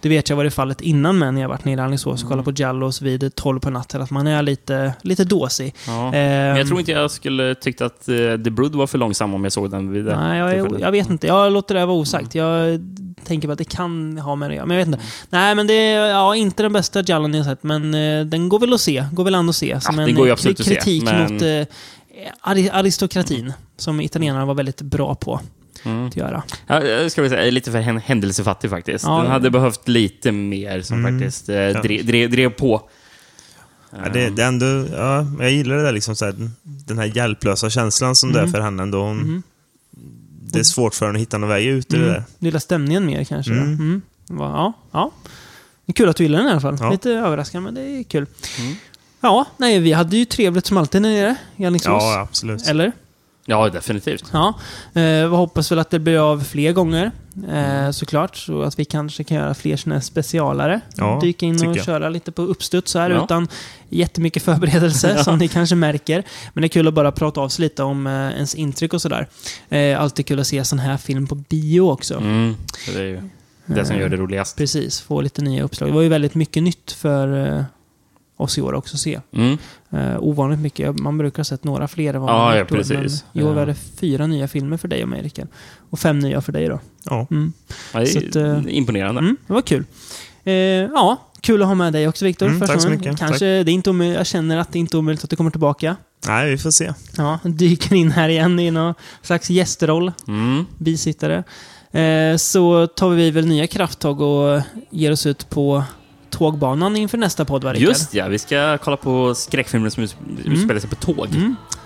Det vet jag var det fallet innan med när jag varit nere i Alingsås och kollat
Mm.
på Jallos vid 12 på natten, att man är lite, lite dåsig.
Ja.
Ehm,
Men jag tror inte jag skulle tyckt att eh, The Brood var för långsam om jag såg den vid det
Nej, jag, är-
tillfället.
jag vet inte. Jag låter det här vara osagt. Jag tänker på att det kan ha med det att göra, men jag vet inte. Nej, men det är ja, inte den bästa Jallan jag sett, men eh, den går väl att se. Går väl an att se. Som
Ja,
en
den går ju
eh,
absolut att se,
kritik
men-
mot eh, ari- aristokratin, som italienarna var väldigt bra på
Mm.
att göra.
Ja, jag ska väl säga, jag är lite för hän- händelsefattig faktiskt.
Ja. Mm.
Den hade behövt lite mer som faktiskt eh, drev, drev, drev på. Um,
Ja, det, det är ändå, ja, men jag gillar det där liksom så här, den här hjälplösa känslan som
Mm.
det är för henne ändå.
Mm.
Hon,
Mhm.
Det är svårt för henne att hitta någon väg ut ur det där.
Du gillar Mm. stämningen mer kanske?
Mm.
då? Mm. Va- Ja, ja. Det är kul att du gillar den i alla fall.
Ja.
Lite överraskande, men det är kul.
mm.
Ja, nej, vi hade ju trevligt som alltid när nere i Alingsås.
Ja, absolut.
Eller?
Ja, definitivt.
Ja, eh, vi hoppas väl att det blir av fler gånger eh, såklart. Så att vi kanske kan göra fler såna här specialare.
Ja,
Dyka in
tycker
och
jag.
köra lite på uppstuds här
Ja.
utan jättemycket förberedelse
(laughs)
som ni kanske märker. Men det är kul att bara prata av sig lite om eh, ens intryck och sådär. Eh, alltid kul att se sån här film på bio också.
Mm. Det är ju det som gör det roligast.
Precis, få lite nya uppslag. Det var ju väldigt mycket nytt för eh, oss i år också att se.
Mm.
Eh, ovanligt mycket. Man brukar ha sett några fler än vad
Ja,
man har
ja,
gjort då,
precis.
Men i år
Ja.
var det fyra nya filmer för dig och mig, Rickard. Och fem nya för dig då.
Ja.
Mm.
Ja, det
Så
är
att, eh,
imponerande.
Mm, det var kul. Eh, ja, kul att ha med dig också Viktor.
Mm,
första
tack så
gången.
mycket.
Kanske, det är inte omö- jag känner att det är inte är omöjligt att du kommer tillbaka.
Nej, vi får se.
Ja, dyker in här igen i någon slags gästroll,
Mm.
bisittare. Eh, så tar vi väl nya krafttag och ger oss ut på tågbanan inför nästa podd, va, Rickard?
Just ja, vi ska kolla på skräckfilmer som ut-
Mm.
utspelar sig på tåg.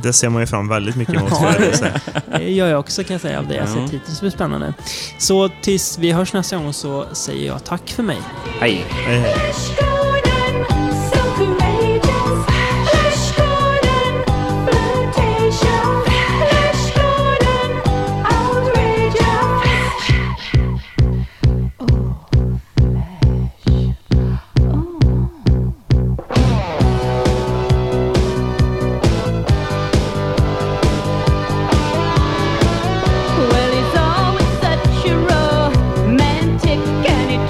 Det ser man ju fram väldigt mycket
(laughs)
emot.
Ja.
får jag säga.
Det gör jag också kan jag säga, av det jag
Ja.
sett hittills. Det blir spännande. Så tills vi hörs nästa gång så säger jag tack för mig.
Hej!
Hej, hej.
Hush, Gordon, so courageous. Hush, Gordon, flirtation. Hush, Gordon, outrageous. Well, it's always such a romantic and it Oh,